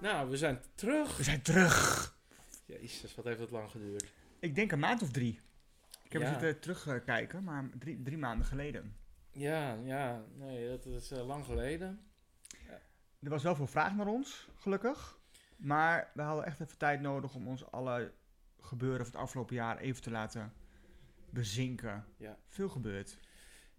Nou, we zijn terug. We zijn terug. Jezus, wat heeft dat lang geduurd. Ik denk een maand of drie. Ik heb Ja. het zitten terugkijken, maar drie, drie maanden geleden. Ja, ja, nee, dat is eh, lang geleden. Er was wel veel vraag naar ons, gelukkig. Maar we hadden echt even tijd nodig om ons alle gebeuren van het afgelopen jaar even te laten bezinken. Ja. Veel gebeurd.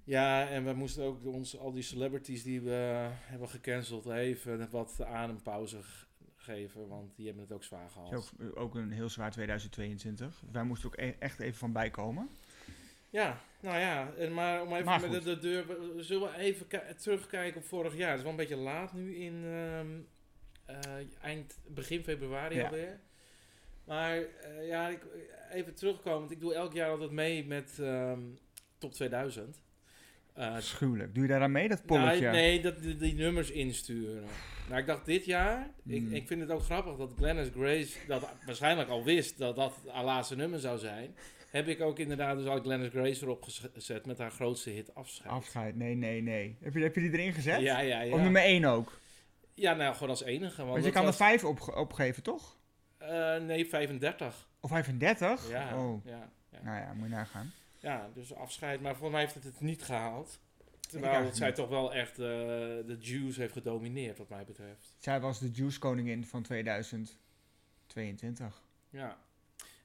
Ja, en we moesten ook ons, al die celebrities die we eh, hebben gecanceld even wat adempauze g- geven, want die hebben het ook zwaar Het gehad. is Ook, ook een heel zwaar 2022. Wij moesten ook e- echt even van bijkomen. Ja, nou ja, en maar om even Maar met de, goed. de deur. we- we Zullen we even ki- terugkijken op vorig jaar? Het is wel een beetje laat nu in ehm, eh, eind, begin februari Ja. alweer. Maar eh, ja, ik, even terugkomen. Want ik doe elk jaar altijd mee met ehm, Top 2000. Eh, Schuwelijk. Doe je daaraan mee, dat polletje? nou, nee, dat, die, die nummers insturen. Nou, ik dacht dit jaar. Ik, Hmm. ik vind het ook grappig dat Glennis Grace dat waarschijnlijk al wist dat dat haar laatste nummer zou zijn. Heb ik ook inderdaad dus al Glennis Grace erop ges- gezet met haar grootste hit Afscheid. Afscheid. Nee, nee, nee. Heb je, heb je die erin gezet? Ja, ja, Op ja. nummer 1 ook. Ja, nou, gewoon als enige. Want Want je dat kan was- er 5 op, opgeven, toch? eh, nee, 35. Of 35? Ja, Oh. ja, ja. Nou ja, moet je nagaan. Ja, dus afscheid. Maar voor mij heeft het het niet gehaald. Terwijl eigenlijk zij niet. toch wel echt eh, de Juice heeft gedomineerd, wat mij betreft. Zij was de Juice koningin van 2022. Ja.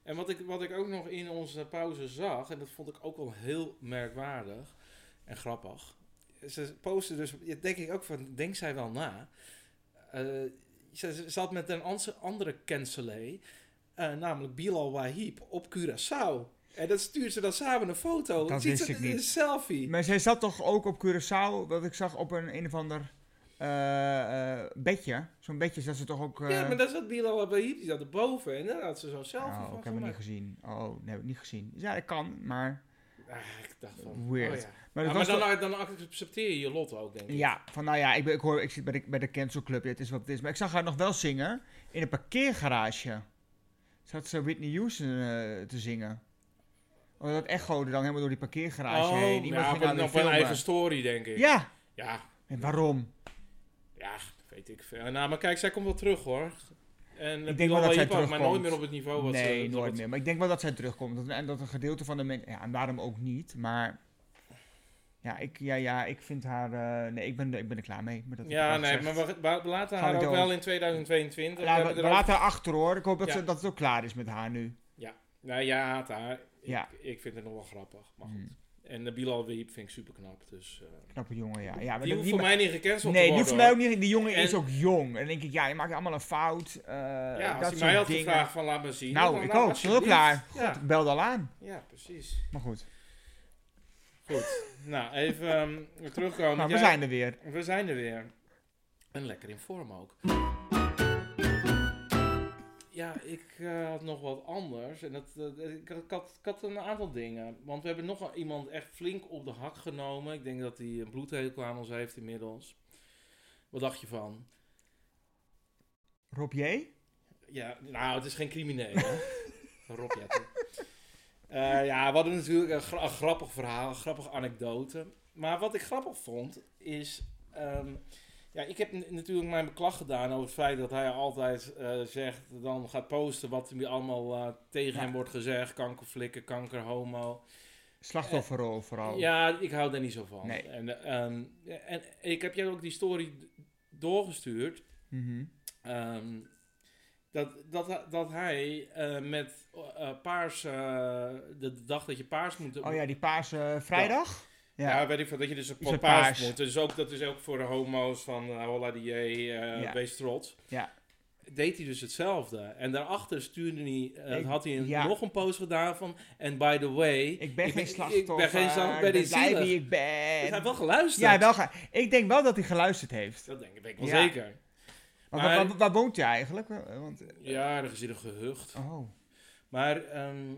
En wat ik, wat ik ook nog in onze pauze zag, en dat vond ik ook wel heel merkwaardig en grappig. Ze postte dus, ja, denk ik ook van, denk zij wel na. Eh, ze ze zat met een ans- andere cancelee, eh, namelijk Bilal Wahib, op Curaçao. En dat stuurt ze dan samen een foto. Dat Ziet wist ze- ik niet. Een selfie. Maar zij zat toch ook op Curaçao, wat ik zag op een een of ander eh, eh, bedje. Zo'n bedje zat ze toch ook... eh, Ja, maar daar zat Bilal Wahib, die zat erboven. En daar had ze zo'n selfie oh, van ik heb het niet gemaakt. gezien. Oh, nee, heb ik niet gezien. Ja, dat kan, maar... Ah, ik dacht van, Weird. oh ja. Maar, dat Ja, was maar toch- dan, dan accepteer je je lot ook, denk ik. Ja, van nou ja, ik, ben, ik hoor, ik zit bij de, bij de Cancel Club, het is wat het is. Maar ik zag haar nog wel zingen in een parkeergarage. Zat ze Whitney Houston eh, te zingen. Oh, dat echo er dan helemaal door die parkeergarage oh, heen. Iemand ja, ging op haar een, weer op een filmen. eigen story, denk ik. Ja, Ja, en waarom? ja, weet ik veel. Nou, maar kijk, zij komt wel terug, hoor. En denk Bilal wel dat zij Wahib ook, Maar terugkomt. nooit meer op het niveau Oh, wat ze... nee, wat- nooit meer. Maar ik denk wel dat zij terugkomt. Dat- En dat een gedeelte van de mensen... Ja, en waarom ook niet, maar... Ja, ik, ja, ja, ik vind haar... eh, nee, ik ben, er- ik ben er klaar mee. Maar dat Ja, dat nee, zegt- maar we, we- we laten Gaan haar ook we door. wel in 2022. Laat- we hebben er we ook- laten haar achter, hoor. Ik hoop dat, Ja. ze, dat het ook klaar is met haar nu. Nou ja, haat haar. Ik, Ja. ik vind het nog wel grappig, maar goed. Hmm. En de Bilal Wahib vind ik super knap, dus... eh, Knappe jongen, ja. ja maar die dat- hoeft voor mij niet gecanceld te Nee, die worden, hoeft voor mij ook hoor. niet. Die jongen is En- ook jong. En dan denk ik, ja, je maakt allemaal een fout. eh, Ja, dat als hij soort mij had dingen. gevraagd van laat me zien... Nou, dan ik laat- ook. Heel alsjeblieft. klaar. Ja, Ik belde al aan. ja, precies. Maar goed, Goed, nou, even ehm, weer terugkomen. nou, we Jij- zijn er weer. We zijn er weer. En lekker in vorm ook. Ja, ik eh, had nog wat anders. En dat, eh, ik, ik had, ik had een aantal dingen. Want we hebben nog wel iemand echt flink op de hak genomen. Ik denk dat hij een bloedhekel aan ons heeft inmiddels. Wat dacht je van? Rob J. Ja, nou, het is geen crimineel, hè? Rob Jetten. Eh, ja, we hadden natuurlijk een, gra- een grappig verhaal, een grappige anekdote. Maar wat ik grappig vond, is... ehm, ja, ik heb n- natuurlijk mijn beklag gedaan over het feit dat hij altijd eh, zegt... dan gaat posten wat er allemaal eh, tegen Ja. hem wordt gezegd. Kankerflikken, kanker, homo. Slachtofferrol vooral. Eh, Ja, ik hou daar niet zo van. Nee. En, ehm, en ik heb jij ook die story d- doorgestuurd... Mhm. Ehm, dat, dat, dat hij eh, met eh, paars, eh, de dag dat je paars moet... Oh ja, die paarse vrijdag? ja. Ja. weet ik veel, dat je dus op met paars, paars. moet. Dus ook, dat is ook voor de homo's van eh, holla die eh, Ja. wees trots. Ja. Deed hij dus hetzelfde. En daarachter stuurde hij, eh, Ik- had hij een- ja. nog een post gedaan van... And by the way... Dus Ik ben ik geen ben- slachtoffer. ik ben geen slachtoffer, ik ben niet blij zielig. wie ik Hij heeft ben. wel geluisterd. Ja, wel ga- ik denk wel dat hij geluisterd heeft. Dat denk ik, weet ik wel Ja. zeker. Want Maar- waar, waar- waar woont hij eigenlijk? Eh, Want, Ja, ergens in een gehucht. oh. Maar ehm,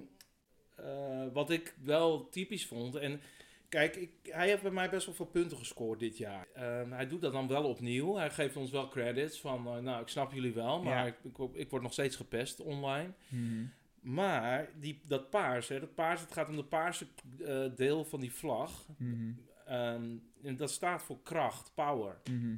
eh, wat ik wel typisch vond. En kijk, ik, hij heeft bij mij best wel veel punten gescoord dit jaar. Ehm, hij doet dat dan wel opnieuw. Hij geeft ons wel credits van. eh, nou, ik snap jullie wel, maar Ja. ik, ik, ik word nog steeds gepest online. Mhm. Maar die, dat paars, hè, dat paars, het gaat om de paarse eh, deel van die vlag. Mhm. Ehm, en dat staat voor kracht, power. Mhm.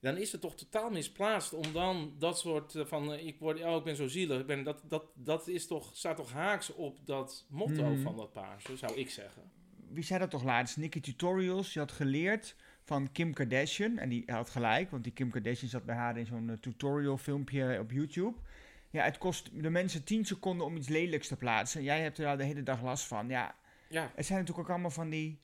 Dan is het toch totaal misplaatst om dan dat soort eh, van eh, ik, word, oh, ik ben zo zielig. Ik ben, dat dat, dat is toch, staat toch haaks op dat motto Mhm. van dat paarse, zou ik zeggen. Wie zei dat toch laatst? Nikki Tutorials, die had geleerd van Kim Kardashian. En die had gelijk, want die Kim Kardashian zat bij haar in zo'n eh, tutorial filmpje op YouTube. Ja, het kost de mensen 10 seconden om iets lelijks te plaatsen. Jij hebt er daar de hele dag last van. Ja, Ja, het zijn natuurlijk ook allemaal van die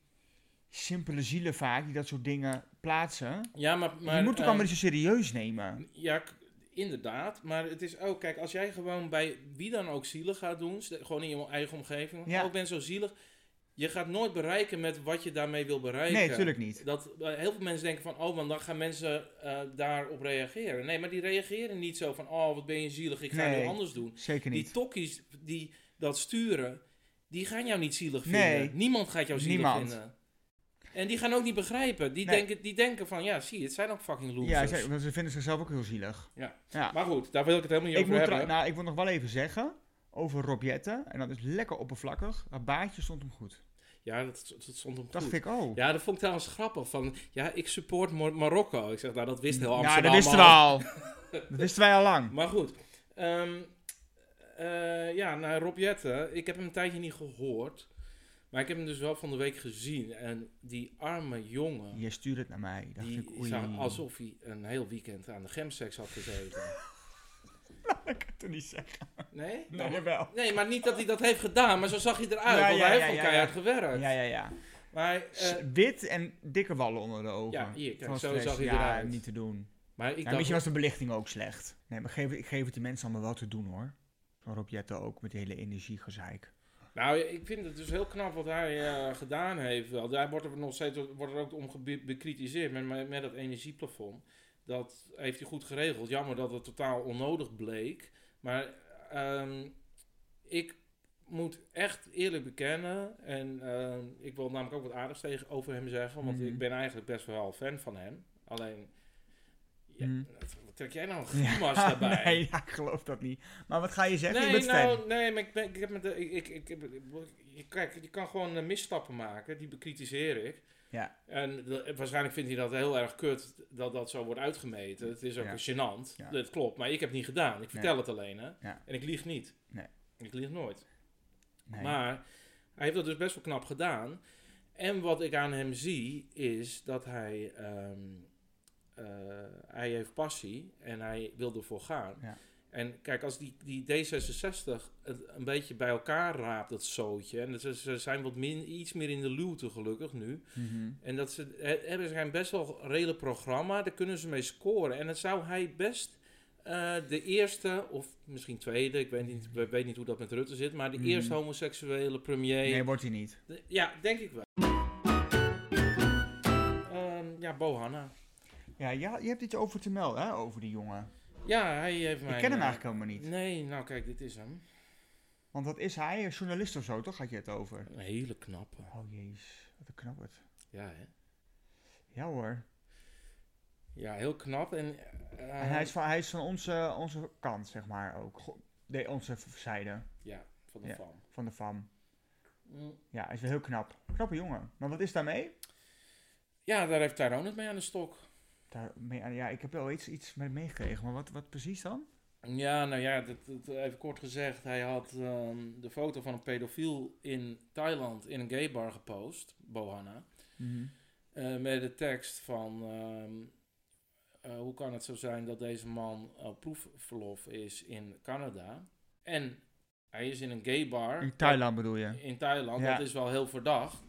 simpele zielen vaak die dat soort dingen plaatsen. ja maar... maar je moet het ook ehm, allemaal niet zo serieus nemen. Ja, k- inderdaad. Maar het is ook, kijk, als jij gewoon bij wie dan ook zielig gaat doen, st- gewoon in je eigen omgeving, Ja. oh, ik ben zo zielig. Je gaat nooit bereiken met wat je daarmee wil bereiken. Nee, natuurlijk niet. Dat eh, heel veel mensen denken van, oh, want dan gaan mensen eh, daarop reageren. Nee, maar die reageren niet zo van, oh, wat ben je zielig, ik ga Nee, heel anders doen. Zeker Die niet. tokkies die dat sturen, die gaan jou niet zielig vinden. Nee. Niemand gaat jou zielig Niemand. vinden. En die gaan ook niet begrijpen. Die, Nee. denken, die denken van, ja, zie, het zijn ook fucking losers. Ja, ze, want ze vinden zichzelf ook heel zielig. Ja. ja. Maar goed, daar wil ik het helemaal niet Ik over moet, hebben. trouw- nou, ik wil nog wel even zeggen over Robjette. En dat is lekker oppervlakkig. Haar baardje stond hem goed. Ja, dat, dat stond hem Dacht goed. ik, oh. Ja, dat vond ik trouwens grappig. Van, ja, ik support Mar- Marokko. Ik zeg, nou, dat wist heel Amsterdam ja, dat wisten we al. dat wisten wij al lang. Maar goed. Ehm, eh, ja, nou, Rob Jetten. Ik heb hem een tijdje niet gehoord. Maar ik heb hem dus wel van de week gezien. En die arme jongen... Je stuurde het naar mij. Dacht Die ik, oei. zag alsof hij een heel weekend aan de gemseks had gezeten. Ik kan het toch niet zeggen. Nee? Nee, jawel. Nee, maar niet dat hij dat heeft gedaan, maar zo zag hij eruit. Ja, want ja, hij ja, heeft ja, van keihard ja. gewerkt. Ja, ja, ja. Maar, eh, S- Wit en dikke wallen onder de ogen. ja, hier, kijk, Van zo stress. zag hij ja, eruit. niet te doen. maar ik Ja, dacht, misschien was de belichting ook slecht. Nee, maar geef, ik geef het die mensen allemaal wel te doen hoor. Van Robjette ook, met die hele energiegezeik. Nou, ik vind het dus heel knap wat hij eh, gedaan heeft. Wel, Daar wordt er nog steeds wordt er ook om gebe- bekritiseerd met, met, met dat energieplafond. Dat heeft hij goed geregeld. Jammer dat het totaal onnodig bleek. Maar ehm, ik moet echt eerlijk bekennen. En ehm, ik wil namelijk ook wat aardigs tegen over hem zeggen. Want Mhm. ik ben eigenlijk best wel fan van hem. Alleen. Ja, Mhm. wat trek jij nou een grimas daarbij? nee, ja, ik geloof dat niet. Maar wat ga je zeggen? Nee, je bent nou, fan. nee, maar ik, ben, ik heb met de, ik, ik, ik, heb- ik- kijk, je kan gewoon eh, misstappen maken, die bekritiseer ik. Ja. En de- waarschijnlijk vindt hij dat heel erg kut dat dat zo wordt uitgemeten. Het is ook Ja. gênant, Ja. dat klopt, maar ik heb het niet gedaan. Ik vertel het alleen, hè. Ja. En ik lieg niet. Nee. Ik lieg nooit. Nee. Maar hij heeft dat dus best wel knap gedaan. En wat ik aan hem zie, is dat hij, ehm, eh, hij heeft passie en hij wil ervoor gaan. Ja. En kijk, als die, die D66 het een beetje bij elkaar raapt, dat zootje. En ze, ze zijn wat min, iets meer in de luwte gelukkig nu. Mhm. En dat ze, he- hebben ze een best wel redelijk programma. Daar kunnen ze mee scoren. En dan zou hij best eh, de eerste, of misschien tweede, ik weet niet, ik weet niet hoe dat met Rutte zit. Maar de Mhm. eerste homoseksuele premier. Nee, wordt hij niet. De- ja, denk ik wel. Ehm, ja, Bohanna. Ja, ja, je hebt iets over te melden, hè, over die jongen. Ja, hij heeft mij. ik ken hem eigenlijk helemaal niet. Nee, nou kijk, dit is hem. Want wat is hij? Een journalist of zo, toch? Had je het over? Een hele knappe. Oh jezus, wat een knabbert. Ja, hè? Ja hoor. Ja, heel knap. En, eh, en hij is van, hij is van onze, onze kant, zeg maar ook. Go- Nee, onze v- zijde Ja, van de Ja. FAM. van de fam. Mm. Ja, hij is wel heel knap. Knappe jongen. Maar wat is daarmee? Ja, daar heeft Tyrone het mee aan de stok. daarmee eh, ja, ik heb wel iets, iets mee meegekregen, maar wat, wat precies dan? Ja, nou ja, dat, dat- even kort gezegd. Hij had ehm, de foto van een pedofiel in Thailand in een gaybar gepost, Bohanna. Eh, met de tekst van... ehm, eh, hoe kan het zo zijn dat deze man op proefverlof is in Canada? En hij is in een gaybar. In Thailand bedoel je? in Thailand. Ja. Dat is wel heel verdacht.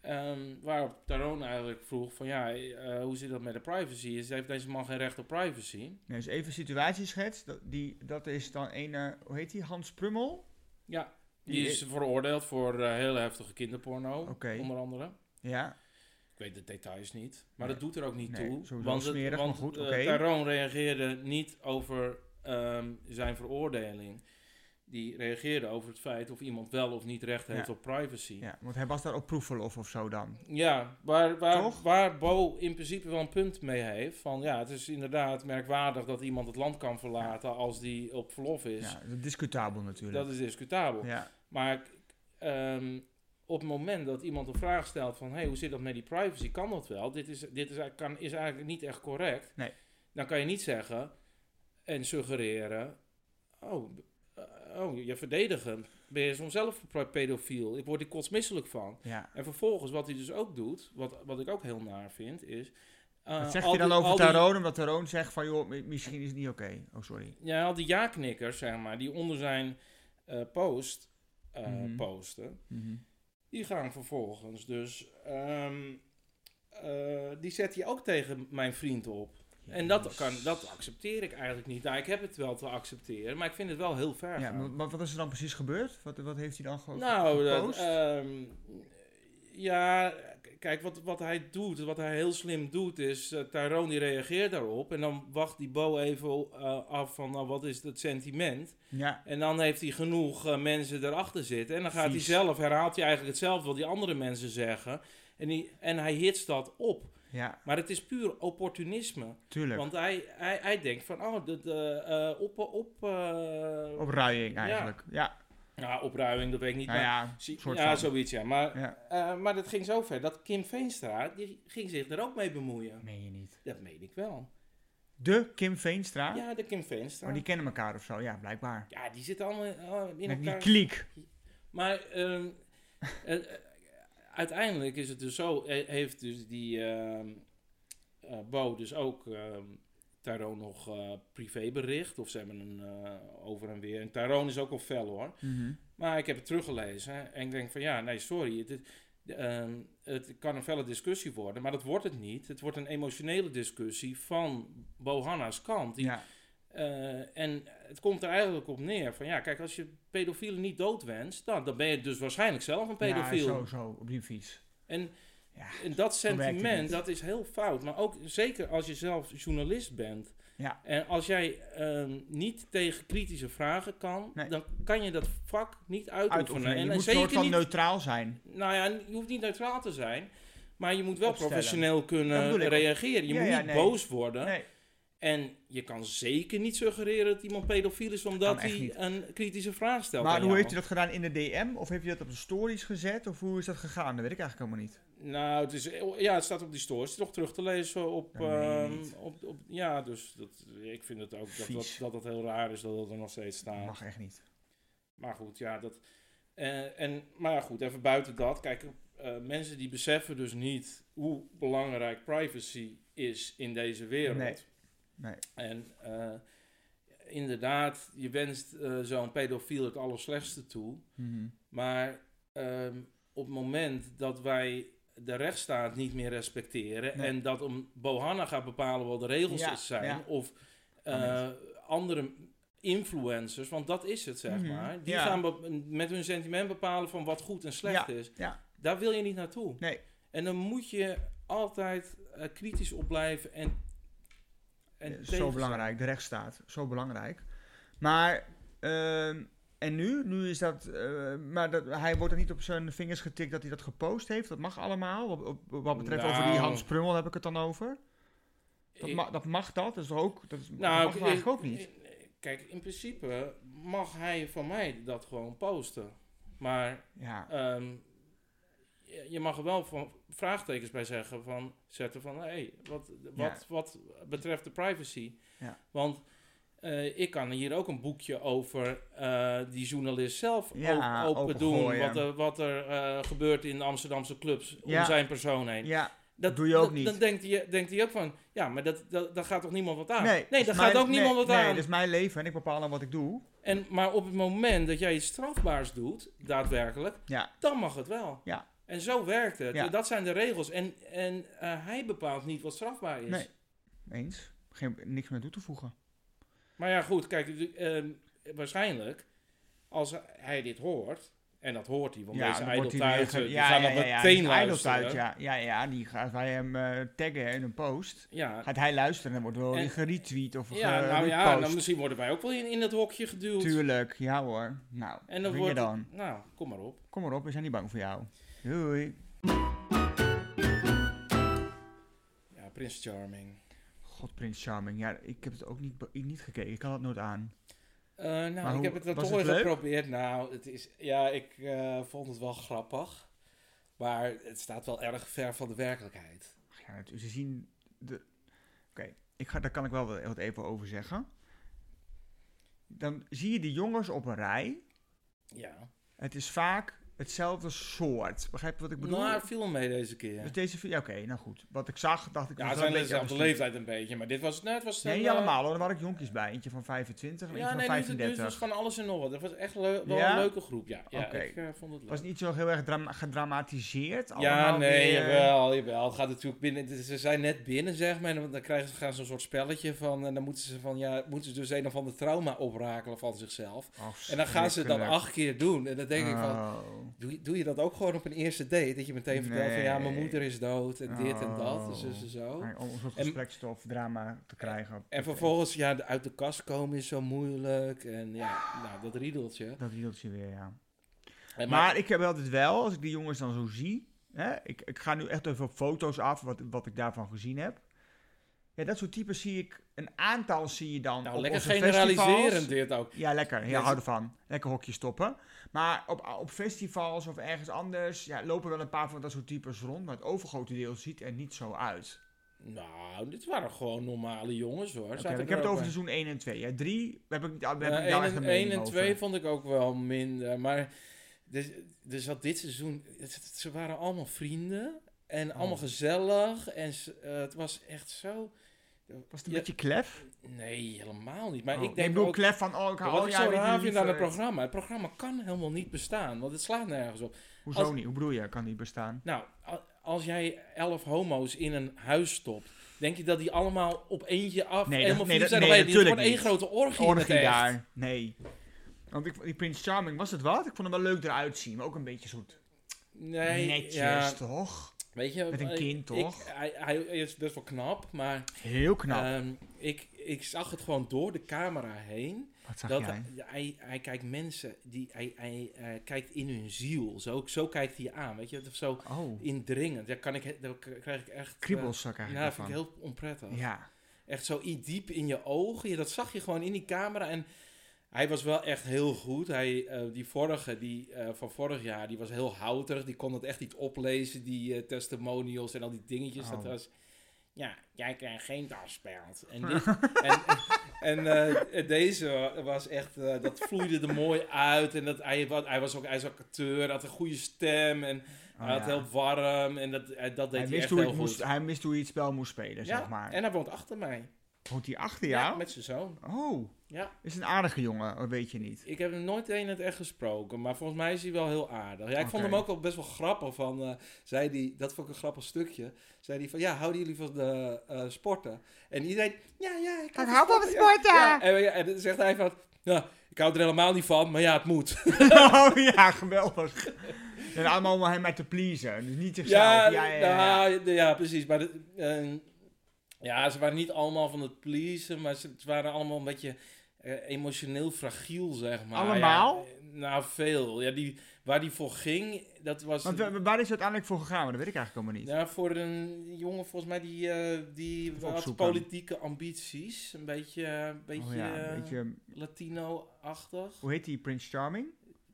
Ehm, waarop Tyrone eigenlijk vroeg van ja, eh, hoe zit dat met de privacy? Is, heeft deze man geen recht op privacy? Nee, dus even situatieschets. Dat, die, dat is dan een, eh, hoe heet die? Hans Prummel? Ja, die Die- is veroordeeld voor eh, heel heftige kinderporno, Oké. onder andere. Ja. Ik weet de details niet, maar Nee. dat doet er ook niet Nee, toe. sowieso smerig, maar goed, eh, oké. Tyrone reageerde niet over ehm, zijn veroordeling. Die reageerde over het feit of iemand wel of niet recht heeft Ja. op privacy. ja, want hij was daar op proefverlof of zo dan. Ja, waar, waar, Toch? waar Bo in principe wel een punt mee heeft. Van ja, het is inderdaad merkwaardig dat iemand het land kan verlaten als die op verlof is. Ja, dat is discutabel natuurlijk. Dat is discutabel. ja. Maar ehm, op het moment dat iemand een vraag stelt van... hey, hoe zit dat met die privacy? Kan dat wel? Dit is, dit is, eigenlijk- kan, is eigenlijk niet echt correct. Nee. Dan kan je niet zeggen en suggereren... oh, b- eh, oh je verdedigt hem. Ben je soms zelf een pro- pedofiel? Ik word er kotsmisselijk van. Ja. En vervolgens, wat hij dus ook doet... wat, wat ik ook heel naar vind, is... eh, Wat zeg al je dan die- over al die- Taroon? Omdat Taroon zegt van, joh, mi- misschien is het niet oké. Oh, sorry. Ja, al die ja-knikkers, zeg maar, die onder zijn eh, post eh, Mhm. posten, Mhm. die gaan vervolgens dus. ehm, eh, die zet hij ook tegen mijn vriend op. En dat, kan, dat accepteer ik eigenlijk niet. Nou, ik heb het wel te accepteren, maar ik vind het wel heel ver. Ja, gaan. maar maar wat is er dan precies gebeurd? Wat, wat heeft hij dan gewoon Nou, dat, gepost? ehm, ja, k- kijk, wat, wat hij doet, wat hij heel slim doet, is eh Tyrone die reageert daarop. En dan wacht die Bo even eh, af van, nou, wat is het sentiment? ja. En dan heeft hij genoeg eh, mensen erachter zitten. En dan gaat hij Vies. zelf, herhaalt hij eigenlijk hetzelfde wat die andere mensen zeggen. En, die, en hij hitst dat op. ja, Maar het is puur opportunisme. tuurlijk. Want hij, hij, hij denkt van, oh, dat, eh, eh, op... op eh, Opruiing Ja. eigenlijk. Ja, Nou, opruiming, dat weet ik niet. nou maar, ja, zie- soort ja van. zoiets, ja. Maar, Ja. eh, maar dat ging zo ver dat Kim Veenstra, die ging zich er ook mee bemoeien. meen je niet. Dat meen ik wel. De Kim Veenstra. Ja, de Kim Veenstra. Maar die kennen elkaar of zo, ja, blijkbaar. Ja, die zitten allemaal eh, in Met die elkaar. kliek. Maar ehm, eh, eh, uiteindelijk is het dus zo, eh, heeft dus die ehm eh, Bo dus ook ehm Tyrone nog eh, privé bericht. Of ze hebben een eh, over en weer. En Tyrone is ook al fel hoor. Mhm. Maar ik heb het teruggelezen en ik denk van ja, nee, sorry. Het, het, ehm, het kan een felle discussie worden, maar dat wordt het niet. Het wordt een emotionele discussie van Bo Hanna's kant. Die Ja. eh, en het komt er eigenlijk op neer van ja, kijk, als je pedofielen niet doodwenst, nou, dan ben je dus waarschijnlijk zelf een pedofiel. Ja, zo, zo, op die fiets. en, Ja, en dat werkt het niet. sentiment, dat is heel fout. Maar ook zeker als je zelf journalist bent. Ja. En als jij ehm, niet tegen kritische vragen kan, Nee. dan kan je dat vak niet uitoefenen. Uitoefenen. En, Je en moet een soort zeker van niet, neutraal zijn. nou ja, je hoeft niet neutraal te zijn, maar je moet wel Opstellen. professioneel Dat kunnen bedoel ik. reageren. Je Ja, moet ja, niet nee. boos worden. Nee, En je kan zeker niet suggereren dat iemand pedofiel is omdat Kan echt hij niet. een kritische vraag stelt. maar aan hoe jou. heeft u dat gedaan in de DM? Of heeft u dat op de stories gezet? Of hoe is dat gegaan? Dat weet ik eigenlijk helemaal niet. Nou, het is, ja, het staat op die stories. Het is nog terug te lezen op. Dat meen je ehm, niet. op, op ja, dus dat, ik vind het ook dat dat, Vies. dat dat heel raar is dat dat er nog steeds Dat staat. mag echt niet. Maar goed, ja, dat. eh, en, maar ja, goed, even buiten dat. Kijk, eh, mensen die beseffen dus niet hoe belangrijk privacy is in deze wereld. Nee. Nee. En eh, inderdaad, je wenst eh, zo'n pedofiel het allerslechtste toe. Mhm. Maar ehm, op het moment dat wij de rechtsstaat niet meer respecteren Nee. en dat om Bohanna gaat bepalen wat de regels Ja, zijn ja. of eh, andere influencers, want dat is het zeg Mhm, maar, die ja. gaan be- met hun sentiment bepalen van wat goed en slecht is. ja. Daar wil je niet naartoe. Nee. En dan moet je altijd eh, kritisch op blijven en, en Eh, zo tegen- belangrijk, de rechtsstaat. Zo belangrijk. Maar, ehm, en nu? Nu is dat, eh, maar dat, hij wordt er niet op zijn vingers getikt dat hij dat gepost heeft. Dat mag allemaal. Wat, op- wat betreft over die Nou. Hans Prummel heb ik het dan over. Dat, Ik- ma- dat mag dat, dat is toch ook, dat, is, dat Nou, mag toch eigenlijk ook niet. Kijk, in principe mag hij van mij dat gewoon posten. Maar Ja, ehm, je- je mag er wel van vraagtekens bij zeggen van zetten van hé, hey, wat, wat, wat betreft de privacy. Ja. Want eh, ik kan hier ook een boekje over eh, die journalist zelf Ja, op- open, doen. opengooien. Wat er, wat er eh, gebeurt in de Amsterdamse clubs om Ja. zijn persoon heen. ja Dat doe je ook dat- niet. Dan denkt hij, denkt hij ook van, ja, maar dat, dat, daar gaat toch niemand wat aan? dat is Ah, daar gaat mijn- ook niemand dus nee, wat Nee, aan. dat is mijn leven en ik bepaal dan wat ik doe. En, maar op het moment dat jij iets strafbaars doet, daadwerkelijk, Ja. dan mag het wel. Ja. En zo werkt het. Ja. En Dat zijn de regels. En, en eh, hij bepaalt niet wat strafbaar is. Nee. Eens. Geen, niks meer toe te voegen. Maar ja, goed, kijk, de- ehm, waarschijnlijk, als hij dit hoort, en dat hoort hij, want deze dan wordt ijdel hij thuis, weer ge- die gaan dat meteen die luisteren. Idol thuis, ja. Ja, ja, die gaat wij hem eh, taggen in een post. ja. Gaat hij luisteren, dan wordt wel En- weer geretweet of Ja, ge- nou ja, repost. dan misschien worden wij ook wel in, in het hokje geduwd. Tuurlijk, ja hoor. Nou, En dan wordt... wordt het- dan. Nou, kom maar op. Kom maar op, we zijn niet bang voor jou. Doei. Ja, Prins Charming. God, Prins Charming. Ja, ik heb het ook niet, be- niet gekeken. Ik had het nooit aan. Eh, nou, hoe- ik heb het dan was toch het weer leuk? geprobeerd. Nou, het is, ja, ik eh, vond het wel grappig. Maar het staat wel erg ver van de werkelijkheid. Ach Ja, het- ze zien... De... Oké, ik ga- daar kan ik wel wat- wat even over zeggen. Dan zie je die jongens op een rij. Ja. Het is vaak hetzelfde soort. Begrijp je wat ik bedoel? Nou, het viel wel mee deze keer. Dus deze... vi- Ja, oké, nou goed. Wat ik zag, dacht ik... ja, was het zijn wel een wel beetje dezelfde anders. leeftijd een beetje, maar dit was... Nou, het was Nee, een, niet eh, allemaal hoor. Er waren ook jonkies bij. Eentje van 25 en Ja, eentje nee, van dus het- dus 35. het was van alles en nog wat. Het was echt leu- wel Ja? een leuke groep, ja. ja Oké. Ik eh, vond het leuk. was niet zo heel erg dram- gedramatiseerd. Ja, allemaal nee, weer. jawel, jawel. Het gaat natuurlijk binnen. het is- Ze zijn net binnen, zeg maar. En dan- dan krijgen ze, gaan ze een soort spelletje van. En dan moeten ze, van, ja, moeten ze dus een of ander trauma oprakelen van zichzelf. En dan gaan ze het dan acht keer doen. En dan denk ik van. Oh. Doe, je- doe je dat ook gewoon op een eerste date? Dat je meteen vertelt van ja, mijn Nee. moeder is dood en dit en dat. Oh. En zus en zo. Maar Om een soort En- gesprekstof, drama te krijgen. En vervolgens, ja, de- uit de kast komen is zo moeilijk. En ja, nou, dat riedeltje. Dat riedeltje weer, ja. En Maar, ik heb altijd wel, als ik die jongens dan zo zie. Hè, ik, ik ga nu echt even op foto's af, wat, wat ik daarvan gezien heb. Ja, dat soort types zie ik. Een aantal zie je dan. nou, op lekker onze generaliseren festivals. dit ook. Ja, lekker. Ja, Mensen- hou ervan. Lekker hokje stoppen. Maar op, op festivals of ergens anders ja, lopen wel een paar van dat soort types rond. Maar het overgrote deel ziet er niet zo uit. Nou, dit waren gewoon normale jongens hoor. Oké, Zaten ik heb er het ook over bij. seizoen 1 en 2. Ja, 3 heb ik, daar heb Ja, ik nou Eh, één echt en- een één mening en over. 2 vond ik ook wel minder. Maar dus, dus had dit seizoen, het- ze waren allemaal vrienden en Oh. allemaal gezellig. En ze- eh, het was echt zo. Was het een Ja. beetje klef? Nee, helemaal niet. Maar Oh, ik nee, denk bedoel ook. klef van, oh, ik hou Wat al ik jij zo bent raar mijn vind aan het lieverd. programma. Het programma kan helemaal niet bestaan, want het slaat nergens op. Hoezo Als- niet? Hoe bedoel je, kan niet bestaan? Nou, a- als jij elf homo's in een huis stopt, denk je dat die allemaal op eentje af Nee, dat- helemaal verliefd nee, dat- zijn? nee, op één? Dit wordt natuurlijk één grote orgie. in het Orgie echt. Oh, daar. Nee. Want ik, die Prins Charming, was het wat? Ik vond hem wel leuk eruit zien, maar ook een beetje zoet. Nee, Netjes, ja, toch? Weet je, Met een eh, kind, ik- toch? hij, hij is best wel knap, maar Heel knap. ehm, ik, ik zag het gewoon door de camera heen. wat zag Eh, dat jij? hij, hij, hij kijkt mensen, die, hij, hij eh, kijkt in hun ziel. Zo, zo kijkt hij je aan, weet je. dat is Zo Oh, indringend. Daar, kan ik, he- daar k- krijg ik echt... eh, kriebels zag ik ja, dat eigenlijk vind ik ervan. heel onprettig. Ja, Echt zo i- diep in je ogen. Ja, dat zag je gewoon in die camera. En hij was wel echt heel goed. Hij, eh, die vorige, die eh, van vorig jaar, die was heel houterig. Die kon het echt niet oplezen, die eh, testimonials en al die dingetjes. Dat Oh. was, ja, jij krijgt geen dasspeld. En, dit- en, en eh, deze was echt, eh, dat vloeide er mooi uit. En dat, hij, wa- hij was ook, hij is ook acteur, hij had een goede stem en Oh, hij had ja. heel warm. En dat, eh, dat deed hij, hij, wist echt hoe heel hij, goed. het moest, hij wist hoe hij het spel moest spelen, ja, zeg maar. en hij woont achter mij. Woont hij achter jou? met zijn zoon. Oh, Ja. is een aardige jongen, dat weet je niet. Ik heb hem nooit een in het echt gesproken, maar volgens mij is hij wel heel aardig. Ja, ik vond Oké. hem ook wel best wel grappig van, eh, zei die, dat vond ik een grappig stukje, zei die van, ja, houden jullie van de eh, sporten? En iedereen, ja, ja, ik, Ik hou van ja, sporten. Ja, en, ja, en dan zegt hij van, ja, ik hou er helemaal niet van, maar ja, het moet. oh ja, geweldig. En allemaal om hem maar te pleasen, dus niet zichzelf. ja, nou, Ja, ja, ja, ja. ja. precies. Maar de- eh, ja, ze waren niet allemaal van het pleasen, maar ze, ze waren allemaal een beetje eh, emotioneel fragiel, zeg maar. Allemaal? Ja, eh, nou, veel. Ja, die, waar die voor ging, dat was... Want eh, wa- wa- waar is het uiteindelijk voor gegaan? Maar dat weet ik eigenlijk helemaal niet. Ja, voor een jongen volgens mij die, eh, die Even had opzoeken. politieke ambities. Een beetje, eh, beetje, oh, ja, eh, weet je, Latino-achtig. hoe heet die Prince Charming?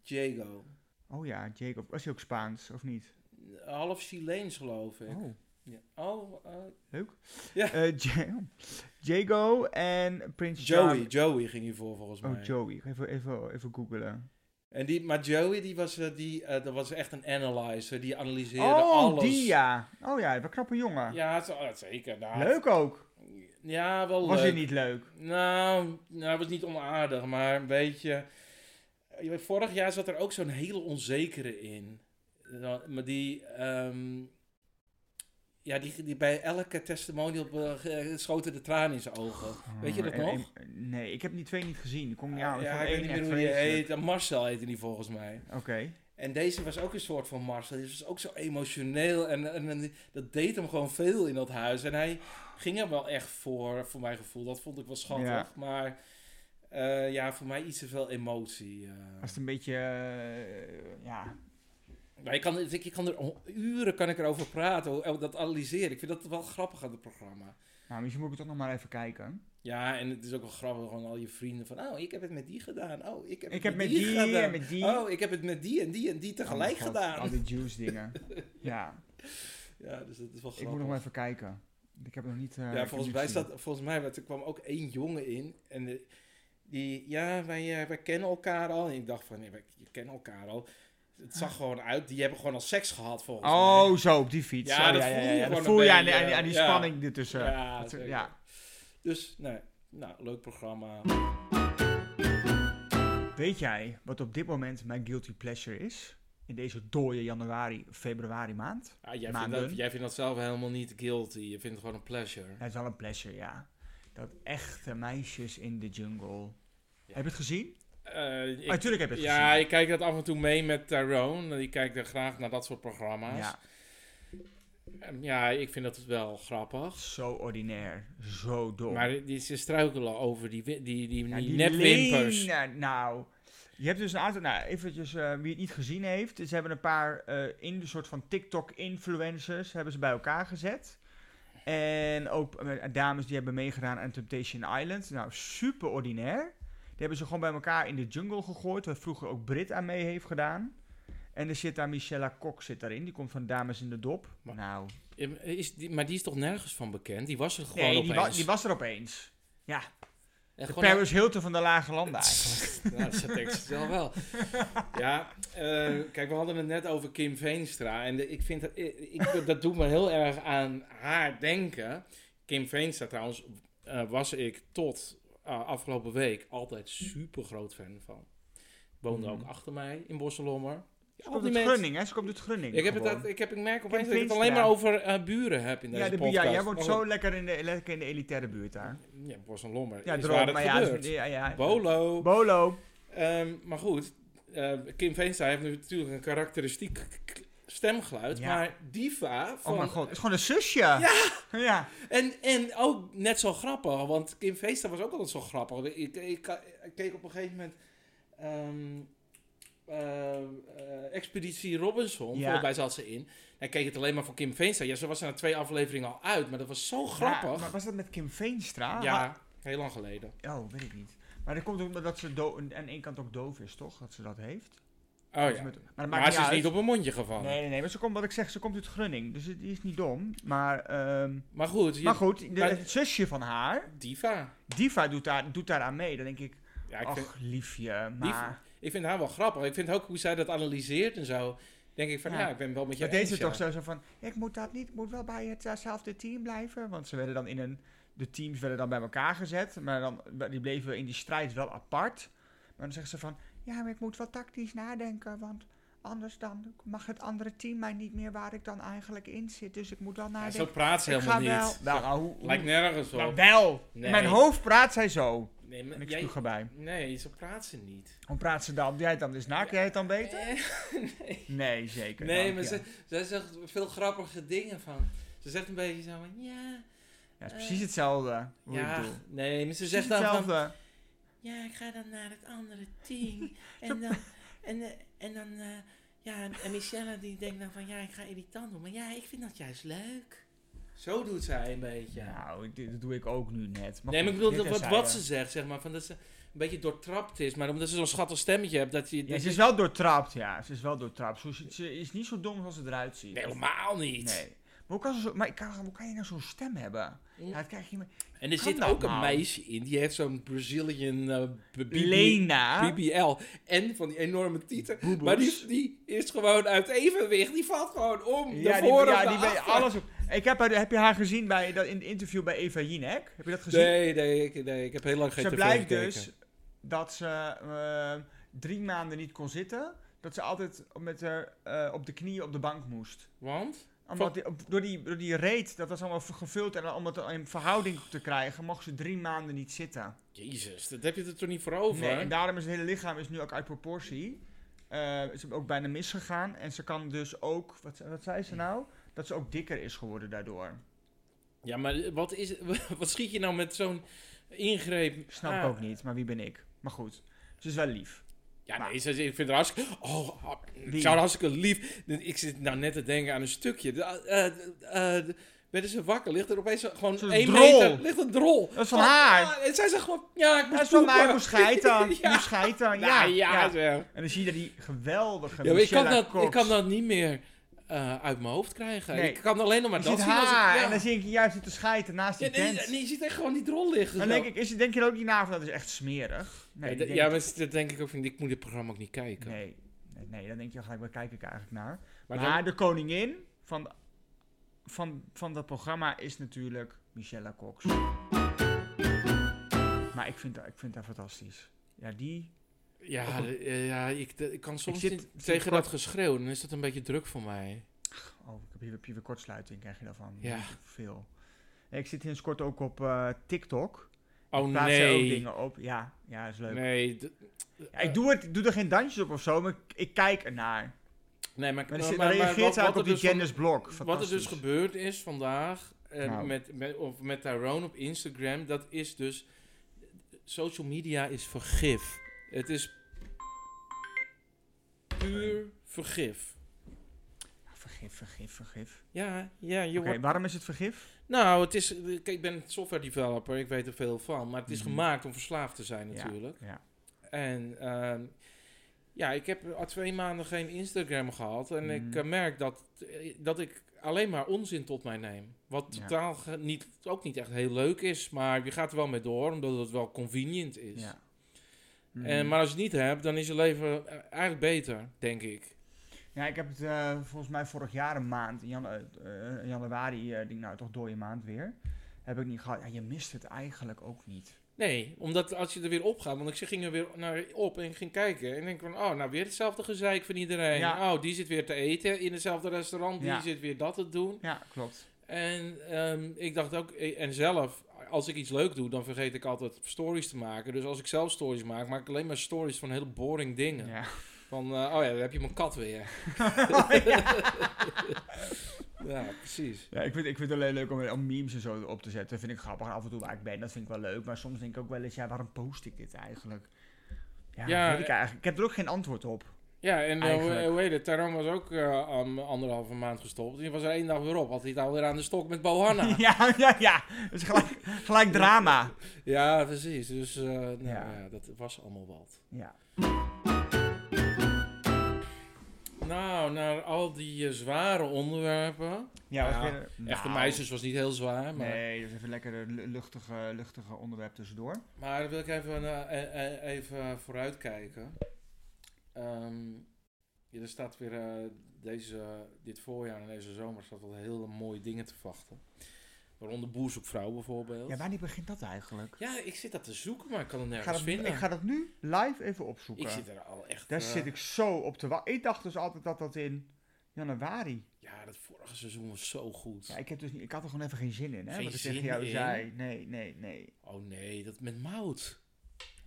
Diego. Oh ja, Jacob. Was hij ook Spaans of niet? Half Chileens, geloof ik. Oh, Ja. Oh, eh, leuk. Ja. Eh, Ja- Jago en Prince Joey. Charming. Joey ging hiervoor volgens mij. Oh, Joey. Ik ga Even, even, even googelen. En die, maar Joey, die was, eh, die, eh, dat was echt een analyzer. Die analyseerde Oh, alles. die ja. Oh ja, wat een knappe jongen. Ja, het- oh, zeker. Nou, Leuk ook. Ja, wel Was leuk. hij niet leuk? Nou, nou, hij was niet onaardig, maar een beetje... Je weet, Vorig jaar zat er ook zo'n hele onzekere in. Dan- Maar die... ehm, ja, die, die bij elke testimonial be- ge- schoten de tranen in zijn ogen. Weet je dat Oh, en- nog? en- nee, ik heb die twee niet gezien. Ik Kom, ja, ja, ik ik vond weet één niet echt meer hoe die vreselijk. heet. Marcel heette die volgens mij. Oké. En deze was ook een soort van Marcel. Die was ook zo emotioneel. En, en, en dat deed hem gewoon veel in dat huis. En hij ging er wel echt voor, voor mijn gevoel. Dat vond ik wel schattig. Ja. Maar eh, ja, voor mij iets te veel emotie. eh. Was het een beetje... eh, ja. Maar ik kan, eh, ik, ik kan er uren kan ik erover praten. hoe- Dat analyseren. Ik vind dat wel grappig aan het programma. Nou, misschien moet ik toch nog maar even kijken. Ja, en het is ook wel grappig, gewoon al je vrienden van, oh, ik heb het met die gedaan. Oh, ik heb het Ik heb met die gedaan. en met die. Oh, ik heb het met die en die en die Oh tegelijk mijn god, Al gedaan. die juice dingen. ja, Ja, dus dat is wel grappig. ik moet nog maar even kijken. Ik heb nog niet... eh, ik Ja, heb volgens niet mij, gezien. staat, volgens mij want er kwam ook één jongen in. En eh, die, ja, wij, eh, wij kennen elkaar al. En ik dacht van, nee, wij je kennen elkaar al. Het zag gewoon uit, die hebben gewoon al seks gehad volgens mij. Ah. Oh, zo, op die fiets. Ja, Oh, dat voel je gewoon Dat een voel je aan, beetje, aan die- aan die ja. spanning ertussen. Ja, Dat- zeker. ja. Dus, nee, nou, leuk programma. Weet jij wat op dit moment mijn guilty pleasure is? In deze dode januari, februari maand? Ah, jij, vindt Maanden. dat, jij vindt dat zelf helemaal niet guilty. Je vindt het gewoon een pleasure. Dat is wel een pleasure, ja. Dat echte meisjes in de jungle. Ja. Heb je het gezien? Eh, ik- Natuurlijk heb je Oh, het ja, gezien. ik kijk dat af en toe mee met Tyrone. Die kijkt er graag naar dat soort programma's. Ja, Ehm, ja ik vind dat wel grappig. zo ordinair. Zo dom. Maar die, ze struikelen over die, wi- die, die, Ja, die, nepwimpers. lenen, nou, je hebt dus een aantal... Nou, eventjes, eh, wie het niet gezien heeft. Ze hebben een paar eh, in de soort van TikTok-influencers hebben ze bij elkaar gezet. En ook eh, dames die hebben meegedaan aan Temptation Island. Nou, super ordinair. Die hebben ze gewoon bij elkaar in de jungle gegooid. Waar vroeger ook Brit aan mee heeft gedaan. En er zit daar Michelle Kok zit daarin. Die komt van Dames in de Dop. Maar- nou, Ehm, Is die, maar die is toch nergens van bekend? Die was er gewoon nee, die, opeens. wa- die was er opeens. En De gewoon- Paris Hilton van de Lage Landen eigenlijk. Nou, dat zegt tekst zelf wel. Ja, eh, kijk, we hadden het net over Kim Veenstra. En de- ik vind dat, ik, ik- dat doet me heel erg aan haar denken. Kim Veenstra trouwens eh, was ik tot eh, afgelopen week altijd super groot fan van. Woonde Mhm. ook achter mij in Borselommer. Ze komt uit mensen- Grunning, hè? Ze komt uit Grunning. Ik, heb het, gewoon. dat- ik, heb, ik merk opeens dat ik het Veenstra. alleen maar over eh, buren heb in deze Ja, de, podcast. ja, jij wordt Maar zo goed. lekker in, de, lekker in de elitaire buurt daar. Ja, Borselommer Ja, ja, is droom, waar het maar ja, gebeurt. ja, ja. Bolo. Bolo. Oh Ehm, maar goed, eh, Kim Veenstra heeft nu natuurlijk een karakteristiek k- k- stemgeluid, Ja. maar diva van... Oh mijn god, het is gewoon een zusje. Ja. ja. En, en ook net zo grappig, want Kim Veenstra was ook altijd zo grappig. Ik, ik, ik, ik keek op een gegeven moment ehm, eh, eh, Expeditie Robinson, Ja. volgens mij zat ze in. En ik keek het alleen maar voor Kim Veenstra. Ja, ze was er na twee afleveringen al uit, maar dat was zo Ja, grappig. maar Ah, was dat met Kim Veenstra? Ja, heel lang geleden. Ha- Oh, weet ik niet. Maar dat komt ook omdat ze do- aan één kant ook doof is, toch? Dat ze dat heeft. Oh Dus ja, met- maar dat maakt maar ze is uit. niet op een mondje gevallen. Nee, nee, nee. Maar ze komt, wat ik zeg, ze komt uit Grunning. Dus die is niet dom. Maar, ehm, Maar goed, je- maar goed, de- maar- het zusje van haar, diva. Diva, doet daar, doet daar aan mee. Dan denk ik, Ja, ik ach vind- liefje, maar... Diva- Ik vind haar wel grappig. Ik vind ook hoe zij dat analyseert en zo. Denk ik van, Ja. ja, ik ben wel met je Maar deze eens, toch ja. zo, zo van, ik moet dat niet, ik moet wel bij hetzelfde team blijven. Want ze werden dan in een, de teams werden dan bij elkaar gezet, maar dan, die bleven in die strijd wel apart. Maar dan zeggen ze van, ja, maar ik moet wel tactisch nadenken, want anders dan mag het andere team mij niet meer waar ik dan eigenlijk in zit. Dus ik moet wel Ja, nadenken. zo praat ze ik helemaal ga niet. wel. Nou, nou, hoe, hoe- Lijkt nergens nou, op. wel. Nee. In mijn hoofd praat zij zo. Nee, maar En ik jij- spuug erbij. nee, zo praat ze niet. Hoe praat ze dan? Jij het dan is naakt, jij het dan beter? Eh, Nee, zeker. Nee, dank maar je. ze, zij zegt veel grappige dingen van. Ze zegt een beetje zo van, ja, Ja, het is precies hetzelfde. Hoe ik ja. bedoel. Nee, maar ze Precies zegt dan van, hetzelfde. ja, ik ga dan naar het andere team. en dan, en, eh, en dan, eh, ja, en Michelle die denkt dan van, ja, ik ga irritant doen. Maar ja, ik vind dat juist leuk. Zo doet zij een beetje. Nou, ik- dit- dat doe ik ook nu net. nee, maar ik goed, bedoel, dit dat wat, terzijde. wat ze zegt, zeg maar, van dat ze een beetje doortrapt is. Maar omdat ze zo'n schattig stemmetje hebt, dat je... Ja, dat ze je- is wel doortrapt, ja. Ze is wel doortrapt. Ze, ze- ze is niet zo dom als ze eruit ziet. Nee, helemaal niet. Nee. Maar hoe kan, ze zo, maar ik kan, hoe kan je nou zo'n stem hebben? Ja, dat krijg je niet meer. En er Kan zit dat ook een nou? meisje in, die heeft zo'n Brazilian eh, b- BB Lena. BBL. En van die enorme tieten. Boeboes. Maar die, die is gewoon uit evenwicht. Die valt gewoon om. Ja, Ja, die, voren ja, of die naar weet achter. alles op. Ik heb, haar- heb je haar gezien bij, dat, in het interview bij Eva Jinek? Heb je dat gezien? Nee, nee, ik, nee, ik heb heel lang geen ze tv blijkt gekeken. dus dat ze ehm, drie maanden niet kon zitten. Dat ze altijd met haar eh, op de knieën op de bank moest. Want? Omdat die- op- door, die, door die reet, dat was allemaal v- gevuld. En om het in verhouding te krijgen, mocht ze drie maanden niet zitten. Jezus, dat heb je er toch niet voor over? Nee, en daarom is het hele lichaam is nu ook uit proportie. Eh is ook bijna misgegaan. En ze kan dus ook, wat, ze- wat zei ze nou? Dat ze ook dikker is geworden daardoor. Ja, maar wat, is, wat schiet je nou met zo'n ingreep? Ah, Snap aan? ik ook niet, maar wie ben ik? Maar goed, ze is wel lief. Ja, Maar- nee, ze- ze- ik vind het hartstikke... Oh, ah, ik Lief. zou het hartstikke lief... Ik zit nou net te denken aan een stukje. De- eh, eh, eh, werden ze wakker. Ligt er opeens gewoon Zo'n één drol. meter ligt een drol. Dat is van Ah, haar. ah, en zij zegt gewoon, ja, ik moet Dat is van mij, ik poepen. moest scheiden. Ja. Ja. Moest scheiden, Nou, ja. ja, ja. zeg. En dan zie je die geweldige Ja, maar ik, kan Michelle dat, ik Cox. kan dat niet meer eh, uit mijn hoofd krijgen. Nee. Ik kan alleen nog maar Je dat ziet zien als ik... haar ja. en dan zie ik je juist zitten scheiden naast die Ja, nee, tent. nee, je ziet echt gewoon die drol liggen. Dan zo. denk ik, is, denk je ook niet na van dat is echt smerig? Nee, ja, die d- denk ja, ik- maar dat denk ik ook van, ik moet dit programma ook niet kijken. nee, nee, nee, dan denk je gelijk, waar kijk ik eigenlijk naar? Maar Maar, dan- de koningin van, van, van dat programma is natuurlijk Michelle Cox. Maar ik vind, haar- ik vind haar fantastisch. Ja, die... Ja, Ook- de- eh, ja ik, de- ik kan soms zit- niet zit tegen kort- dat geschreeuw, dan is dat een beetje druk voor mij. Oh, ik heb hier, heb hier weer kortsluiting, krijg je daarvan. Ja. Veel. Nee, ik zit sinds kort ook op eh, TikTok. Oh Plaats daar ook nee, dingen op. Ja, ja, is leuk. nee, d- Ja, ik doe, het, ik doe er geen dansjes op of zo, maar ik, ik kijk ernaar. nee, maar, Maar dan Nou, maar- zit- dan maar- maar reageert ze wat- ook op wat die er dus van- Janice Blok. Wat er dus Fantastisch. gebeurd is vandaag eh, Nou. met, met, of met Tyrone op Instagram, dat is dus. Social media is vergif. Het is puur vergif. Vergif, vergif, vergif. Ja, ja, je Oké, wordt. waarom is het vergif? Nou, het is. Kijk, ik ben software developer, ik weet er veel van. Maar het is Mhm. gemaakt om verslaafd te zijn, Ja. natuurlijk. Ja. En ehm, ja, ik heb al twee maanden geen Instagram gehad. En ik Mhm. eh, merk dat, eh, dat ik alleen maar onzin tot mij neem. Wat Ja. totaal ge- niet, ook niet echt heel leuk is. Maar je gaat er wel mee door, omdat het wel convenient is. ja. Mm. Mhm. En, maar als je het niet hebt, dan is je leven eh, eigenlijk beter, denk ik. Ja, ik heb het eh, volgens mij vorig jaar een maand, in janu- eh, eh, januari, eh, denk nou toch dode maand weer. Heb ik niet gehad. Ja, je mist het eigenlijk ook niet. Nee, omdat als je er weer op gaat, want ik ging er weer naar op en ging kijken. En denk van, oh, nou weer hetzelfde gezeik van iedereen. Ja. Oh, die zit weer te eten in hetzelfde restaurant. Die Ja. zit weer dat te doen. Ja, klopt. En ehm, ik dacht ook, en zelf, als ik iets leuk doe, dan vergeet ik altijd stories te maken. Dus als ik zelf stories maak, maak ik alleen maar stories van hele boring dingen. Ja. Van, eh, oh ja, daar heb je mijn kat weer. ja, precies. Ja, ik vind, ik vind het alleen leuk om, om memes en zo op te zetten. Dat vind ik grappig. Af en toe waar ik ben, dat vind ik wel leuk. Maar soms denk ik ook wel eens, ja, waarom post ik dit eigenlijk? Ja, Ja, eh- weet ik eigenlijk. Ik heb er ook geen antwoord op. Ja, en eh, hoe, Eigenlijk. hoe heet het? Taron was ook eh, am- anderhalve maand gestopt. Dus Die was er één dag weer op. Had hij het alweer aan de stok met Bohanna. Ja, ja, ja. Dat is gelijk, gelijk drama. ja, precies. Dus eh, nou, Ja. ja, dat was allemaal wat. Ja. Nou, naar al die eh, zware onderwerpen. Ja, Ja, was weer- Echte Nou, meisjes was niet heel zwaar, maar... Nee, dat is even lekker een lu- luchtige, luchtige onderwerp tussendoor. Maar dan wil ik even, eh, eh, eh, even vooruitkijken. Ehm, ja, er staat weer eh, deze, dit voorjaar en deze zomer staat wel hele mooie dingen te wachten. Waaronder Boerzoekvrouw bijvoorbeeld. Ja, Ja, wanneer begint dat eigenlijk? ik zit dat te zoeken, maar ik kan het Ik ga, nergens dat, vinden. ik ga dat nu live even Ik opzoeken. zit er al echt... Daar eh, zit ik zo op te wachten. Ik dacht dus altijd dat dat in januari. Ja, dat vorige seizoen was zo goed. Ja, ik, heb dus niet, ik had er gewoon even geen zin in, hè? Geen wat ik tegen zin jou in? zei. Nee, nee, nee. Oh nee, dat met Mout.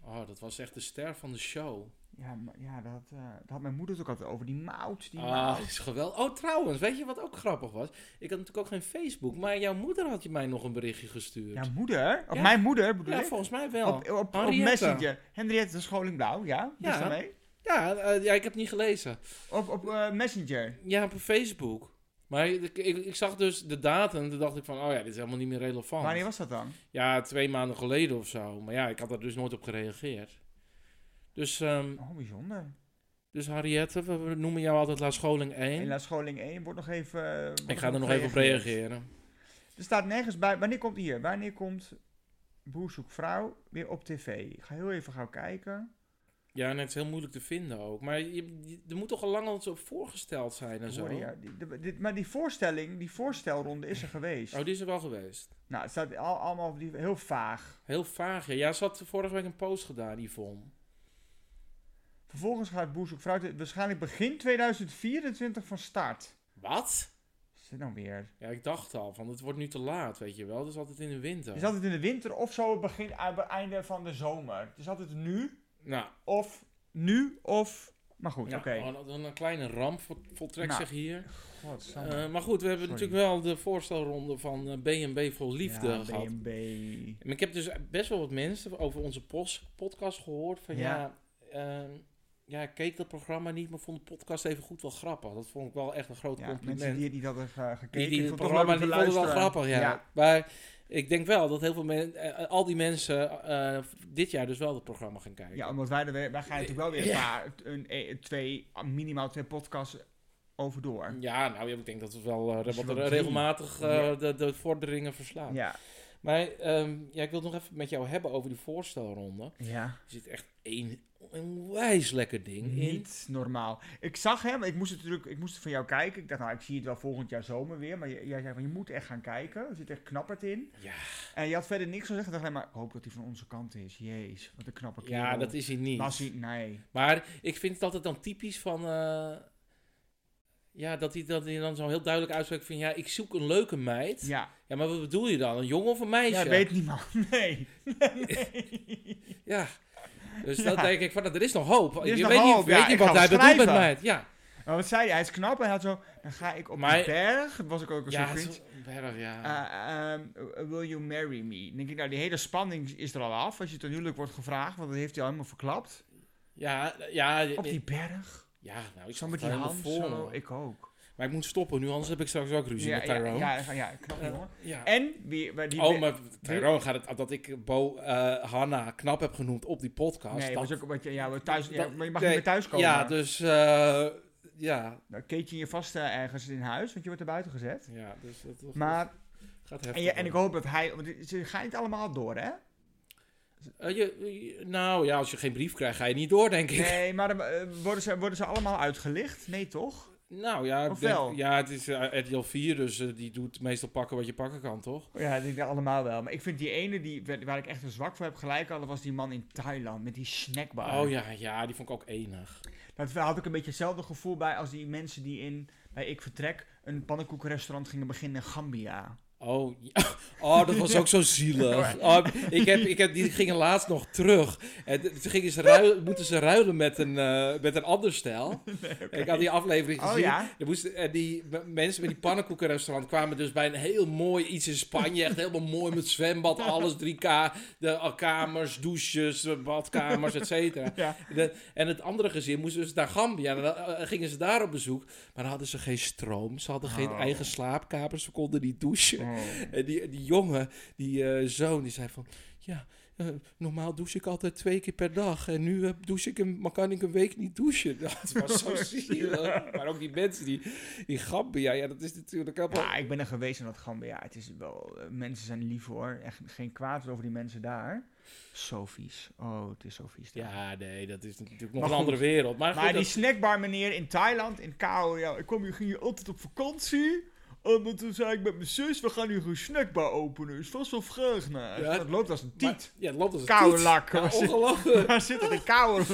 Oh, dat was echt de ster van de show. Ja, maar, ja dat, eh, daar had mijn moeder het ook altijd over. Die mout, die Ah, mout. dat is geweldig. Oh, trouwens, weet je wat ook grappig was? Ik had natuurlijk ook geen Facebook, maar jouw moeder had je mij nog een berichtje gestuurd. Ja, moeder. Of Ja. mijn moeder, Oh. bedoel Ja, ik. volgens mij wel. Op, op, op Henriette. Messenger. Henriette Scholing-Blauw, ja. Ja. Dus daarmee. Ja, eh, ja, ik heb het niet gelezen. Op, op eh, Messenger. Ja, op Facebook. Maar ik, ik, ik zag dus de datum en toen dacht ik van, oh ja, dit is helemaal niet meer relevant. Wanneer was dat dan? Ja, twee maanden geleden of zo. Maar ja, ik had er dus nooit op gereageerd. Dus, ehm, Oh, bijzonder. dus Harriette, we, we noemen jou altijd La Scholing 1. En na scholing 1 wordt nog even... eh, wordt ik ga er nog even op reageren. Er staat nergens bij. Wanneer komt hier? Wanneer komt Boer zoekt vrouw weer op tv? Ik ga heel even gauw kijken. Ja, en het is heel moeilijk te vinden ook. Maar je, je- er moet toch al lang al zo op voorgesteld zijn en zo. Hoorde je? Die- die- dit- maar die voorstelling, die voorstelronde is er geweest. Oh, die is er wel geweest. Nou, het staat al, allemaal op die, heel vaag. Heel vaag. Ja, ja ze had vorige week een post gedaan, Yvonne. Vervolgens gaat Boer zoekt vrouw te- waarschijnlijk begin 2024 van start. Wat? Wat Is dit nou weer? Ja, ik dacht al, van het wordt nu te laat, weet je wel. Het is altijd in de winter. Het is altijd in de winter of zo begin, eh, einde van de zomer. Het is altijd nu Nou, of nu of... Maar goed, nou, oké. oh, dan een kleine ramp vo- voltrekt Nou, zich hier. Godsamme. Eh, maar goed, we hebben Sorry. natuurlijk wel de voorstelronde van eh, B&B voor Liefde Ja, gehad. B&B. En ik heb dus best wel wat mensen over onze pos- podcast gehoord. Van ja, Ja. ehm, ja, ik keek dat programma niet, maar vond de podcast even goed wel grappig. Dat vond ik wel echt een groot Ja, compliment. mensen die het niet hadden eh, gekeken. Die, die ik het vond het programma toch die leuk om vonden te wel luisteren. grappig, ja. Maar ik denk wel dat heel veel mensen, al die mensen eh, dit jaar dus wel het programma gaan kijken. Ja, omdat wij, er weer- wij gaan natuurlijk wel weer een paar, een, een- twee, minimaal twee podcasts over door. Ja, nou ja, ik denk dat het wel eh, Dus wat wel er drie. regelmatig eh, Ja. de, de vorderingen verslaat. Ja. Maar ehm, ja, ik wil het nog even met jou hebben over die voorstelronde. Ja. Er zit echt één onwijs lekker ding in. Niet normaal. Ik zag hem, ik moest het natuurlijk, ik moest het van jou kijken. Ik dacht, nou, ik zie het wel volgend jaar zomer weer. Maar j- jij zei van, je moet echt gaan kijken. Er zit echt knapperd in. Ja. En je had verder niks gezegd. Ik dacht alleen maar, ik hoop dat hij van onze kant is. Jeez, wat een knappe kerel. Ja, dat is hij niet. Was hij, nee. Maar ik vind het altijd dan typisch van... eh, ja, dat hij, dat hij dan zo heel duidelijk uitspreekt van... Ja, ik zoek een leuke meid. Ja, Ja, maar wat bedoel je dan? Een jongen of een meisje? ja weet niemand. Nee. Ja. Dus Ja. dan denk ik van, nou, er is nog hoop. is je nog weet hoop, niet, weet ja, niet ik wat ga hij het bedoelt met schrijven. meid. Ja, Maar wat zei hij? Hij is knap. Hij had zo, dan ga ik op Maar- een berg. Dat was ik ook al ja, zo het cringe. is wel erg, ja. Eh, ehm, will you marry me? Dan denk ik, nou, die hele spanning is er al af. Als je ten huwelijk wordt gevraagd, want dat heeft hij al helemaal verklapt. ja, ja, ja, Op die berg. ja, nou, Eh, ik Zo zag met het die helemaal hand. voor Zo. me. Ik ook. Maar ik moet stoppen nu, anders heb ik straks ook ruzie Ja, met ja, Tyrone. Eh, ja, ja, ja, knap jongen. Ja. En wie, waar die oh, maar Tyrone gaat het... Dat ik Bo eh Hanna knap heb genoemd op die podcast. Nee, dat- was ook wat je, ja, we thuis, ja, dat- maar je mag nee, niet meer thuis komen. Ja, dus... eh, ja. Nou, keet je je vast eh, ergens in huis, want je wordt er buiten gezet. ja, dus dat dat Maar, gaat en, heftig. je, en ik worden. hoop dat hij, want dit- ze gaan niet allemaal door, hè? Eh, je, je- nou ja, als je geen brief krijgt, ga je niet door, denk ik. Nee, maar eh, worden ze, worden ze allemaal uitgelicht? Nee, toch? Nou ja, ik Of denk- wel? ja het is eh, RTL 4, dus eh, die doet meestal pakken wat je pakken kan, toch? Ja, ik denk dat allemaal wel. Maar ik vind die ene die, waar ik echt een zwak voor heb gelijk al, dat was die man in Thailand met die snackbar. Oh ja, ja, die vond ik ook enig. Dat had ik een beetje hetzelfde gevoel bij als die mensen die in, bij Ik Vertrek, een pannenkoekenrestaurant gingen beginnen in Gambia. Oh, ja. oh, dat was ook zo zielig. Oh, ik heb, ik heb, die gingen laatst nog terug. En toen gingen ze ruilen, moeten ze ruilen met een, eh, met een ander stijl. Ik had die aflevering gezien. Oh ja? Er moesten, eh, die m- mensen met die pannenkoekenrestaurant kwamen dus bij een heel mooi iets in Spanje. Echt helemaal mooi met zwembad, alles 3K. De eh, kamers, douches, eh, badkamers, et cetera. Ja. De- en het andere gezin moesten dus naar Gambia. En dan eh, gingen ze daar op bezoek. Maar dan hadden ze geen stroom. Ze hadden geen Oh. eigen slaapkamers. Ze konden niet douchen. En Eh, die, die jongen, die eh, zoon, die zei van... Ja, eh, normaal douche ik altijd twee keer per dag. En nu eh, douche ik hem, maar kan ik een week niet douchen. Dat was zo zielig. Maar ook die mensen, die, die Gambia. Ja, dat is natuurlijk ook wel... Ja, ik ben er geweest in dat Gambia. Het is wel, eh, mensen zijn lief hoor. Echt geen kwaad over die mensen daar. Zo vies. Oh, het is zo vies. daar. Ja, nee, dat is natuurlijk nog Maar een goed. andere wereld. Maar, Maar goed, die dat- snackbar meneer in Thailand, in Khao, ja, ik kwam hier, ging hier altijd op vakantie. En toen zei ik met mijn zus, we gaan hier een snackbar openen. Dus Is vast wel vraag naar. Ja. Dat loopt als een tiet. maar- ja, het loopt als een Koude tiet. lak. Ja, Waar zit- ongelooflijk. Waar zit dat een koude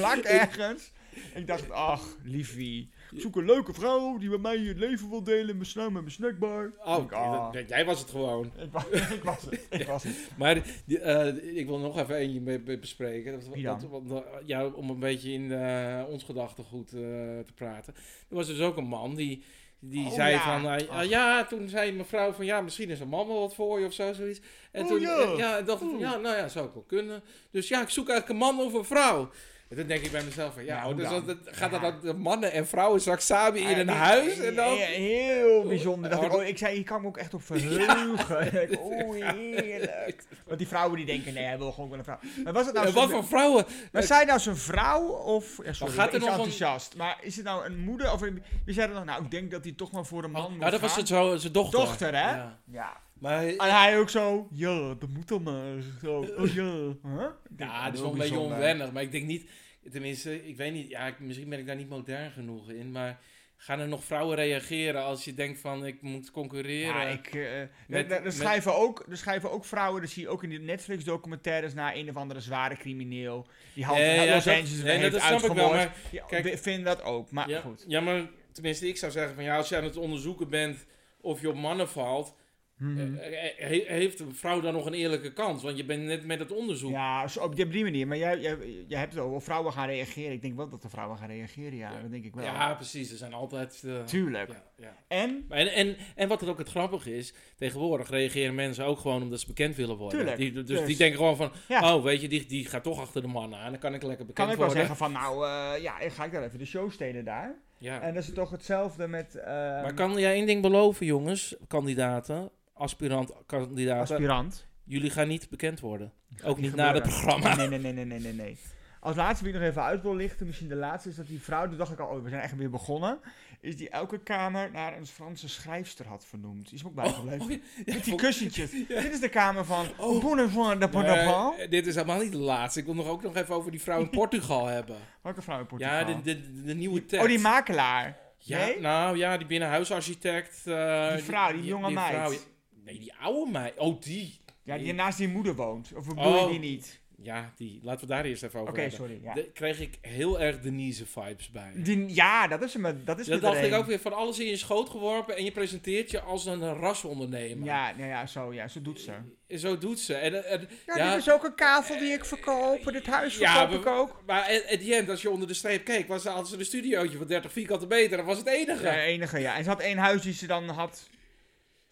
lak ergens? Ik dacht, ach, liefie. Ik zoek een leuke vrouw die met mij het leven wil delen. Mijn snack met mijn snackbar. Oh, ik, denk, ah. dat- jij was het gewoon. ik, wa- ik was het. Ik was het. Maar die, eh, ik wil nog even eentje be- be- bespreken. Dat, Wie dan? dat- want, eh, ja, om een beetje in eh, ons gedachtegoed eh, te praten. Er was dus ook een man die, die Oh, zei ja. van... eh, Ach. ja, toen zei mevrouw van... Ja, misschien is een man wel wat voor je of zo, zoiets. En Oh, toen ja. eh, ja, dacht ik van... Oeh. Ja, nou ja, zou ik wel kunnen. Dus ja, ik zoek eigenlijk een man of een vrouw. En toen denk ik bij mezelf van... Ja, Nou, oh, dus dan. dat, dat- gaat dat Ja. dan de mannen en vrouwen straks samen in een huis? En dan... Ja, Heel bijzonder. Dacht ik, Oh, oh, ik zei, hier kan ik me ook echt op verheugen. Ik dacht, Oeh, heerlijk. Want die vrouwen die denken, nee, hij wil gewoon wel een vrouw. Maar was het nou En wat zo'n- voor vrouwen? Maar zij nou zijn vrouw of... Ja, sorry, gaat gaat er nog een- enthousiast. Maar is het nou een moeder of... een- Wie zei er nog, nou, ik denk dat hij toch maar voor een man moet Nou, dat was gaan. het zo, zijn dochter. Dochter, hè? Ja. Ja. Maar En hij ook zo, ja, dat moet dan maar. Zo, oh ja. Huh? Ik denk, Ja, oh, het is wel een heel beetje bijzonder. onwennig, maar ik denk niet, tenminste, ik weet niet, ja, ik- misschien ben ik daar niet modern genoeg in, maar gaan er nog vrouwen reageren als je denkt van ik moet concurreren? Ja, ik, eh, er- Met- er- er met- schrijven ook, er schrijven ook vrouwen, dat zie je ook in die Netflix-documentaires, naar een of andere zware crimineel. Die half Nee, ja, Los dat- Angeles nee, weer dat heeft snap ik wel, uitgemoord. maar Ja, kijk- we vinden dat ook, maar ja, goed. ja, maar tenminste, ik zou zeggen van ja, als je aan het onderzoeken bent of je op mannen valt, Mhm. Eh, he- heeft een vrouw dan nog een eerlijke kans? Want je bent net met het onderzoek. Ja, zo op die, op die manier. Maar jij, jij, jij hebt het over vrouwen gaan reageren. Ik denk wel dat de vrouwen gaan reageren, ja. Ja. Dat denk ik wel. Ja, precies. Er zijn altijd. eh, Tuurlijk. ja, ja. En, Maar En, en, en wat er ook het grappige is, tegenwoordig reageren mensen ook gewoon omdat ze bekend willen worden. Tuurlijk, Die, dus, dus- die denken gewoon van, Ja. oh weet je, die, die gaat toch achter de man aan, dan kan ik lekker bekend kan ik wel worden. zeggen van, nou, eh, ja, ik ga ik daar even de show steden daar. Ja. En dat is toch hetzelfde met eh, maar kan jij één ding beloven jongens, kandidaten, aspirant-kandidaten, aspirant. jullie gaan niet bekend worden. ook niet na gebeuren. het programma. Nee, nee, nee, nee, nee, nee, nee. Als laatste wie ik nog even uit wil lichten, misschien de laatste, is dat die vrouw, toen dacht ik al, oh, we zijn echt weer begonnen, is die elke kamer naar een Franse schrijfster had vernoemd. Die is me ook bijgebleven. Oh, ja, Met die vond- kussentjes. Dit is de kamer van Oh. Bonnefoy de Bonnefoy. Nee, dit is helemaal niet de laatste. Ik wil nog ook nog even over die vrouw in Portugal hebben. Welke vrouw in Portugal? Ja, de, Uh, de, de nieuwe tekst. Oh, die makelaar. Ja, Nee? nou ja, die binnenhuisarchitect. eh, Die vrouw, die jonge meid. nee, die oude meid. Oh, die. Ja, die Nee. naast die moeder woont. Of bedoel je Oh. die niet? Ja, die. Laten we daar eerst even Oké, over hebben. sorry. Ja. Daar kreeg ik heel erg Denise-vibes bij. Die, ja, dat is hem. Dat is Dat hem dacht er ik een. ook weer van alles in je schoot geworpen en je presenteert je als een rasondernemer. Ja, nou ja, zo, ja, zo doet ze. En Zo doet ze. En, en, Ja, Ja. dit is ook een kavel die ik verkoop. Dit huis Ja, verkoop we- ik ook. maar at at the end, als je onder de streep keek, was hadden ze een studiootje van 30 vierkante meter. Dat was het enige. Ja, enige, ja. En ze had één huis die ze dan had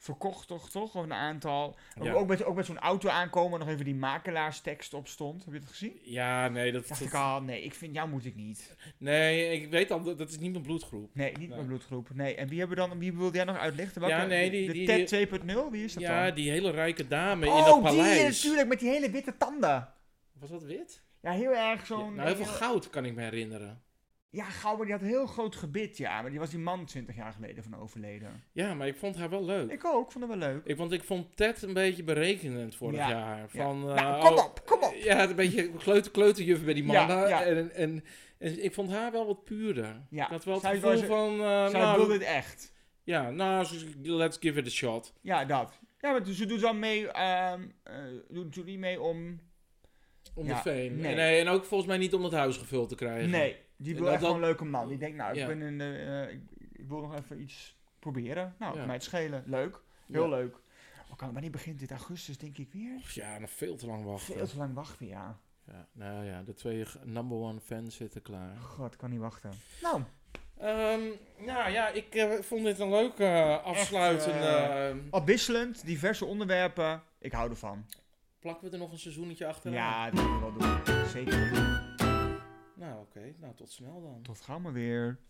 verkocht, toch? toch? Of een aantal. Ook, Ja. ook met, ook met zo'n auto aankomen, nog even die makelaarstekst op stond. Heb je dat gezien? Ja, nee, dat, Dacht dat- ik al, nee, ik vind jou moet ik niet. nee, ik weet al, dat dat is niet mijn bloedgroep. Nee, niet Nee. mijn bloedgroep. Nee, en wie, hebben we dan, wie wilde jij nog uitlichten? Welke, Ja, nee, die- de die- TED 2.0, wie is dat Ja, dan? die hele rijke dame in dat oh, die paleis. natuurlijk, met die hele witte tanden. Was dat wit? Ja, heel erg Ja, zo'n... nou, heel veel goud kan ik me herinneren. Ja, Gouwer, die had een heel groot gebit, ja. Maar die was die man 20 jaar geleden van overleden. Ja, maar ik vond haar wel leuk. Ik ook, vond hem wel leuk. Ik, want ik vond Ted een beetje berekenend vorig Ja, jaar. Van, nou, eh, kom oh, op, kom op. Ja, een beetje kleuter, kleuterjuf bij die Ja, mannen. ja. En, en, en ik vond haar wel wat puurder. Ja. Ik had wel het Zij gevoel was- van... eh, Zij nou, wilde het echt. Ja, nou, let's give it a shot. Ja, dat. Ja, maar ze doet dan mee, ehm eh, doet doet niet mee om... Om Ja, de fame. nee. En, en ook volgens mij niet om het huis gevuld te krijgen. Nee, die wil Dat- echt gewoon een dat- leuke man. Die denkt, nou, ik, Ja. ben een, eh, eh, ik, ik wil nog even iets proberen. Nou, Ja. kan mij het schelen. Leuk. Heel Ja. leuk. Oh, kan, wanneer begint dit? Augustus, denk ik weer? Ja, nog veel te lang wachten. Veel te lang wachten, ja. Ja, nou ja, de twee g- number one fans zitten klaar. God, kan niet wachten. Nou, Ehm, nou ja, ik eh, vond dit een leuke eh, afsluitende... eh, eh, afwisselend, diverse onderwerpen. Ik hou ervan. plakken we er nog een seizoentje achteraan? Ja, dat wil ik wel doen. Zeker. Nou, oké. Nou, tot snel dan. Tot gauw maar weer.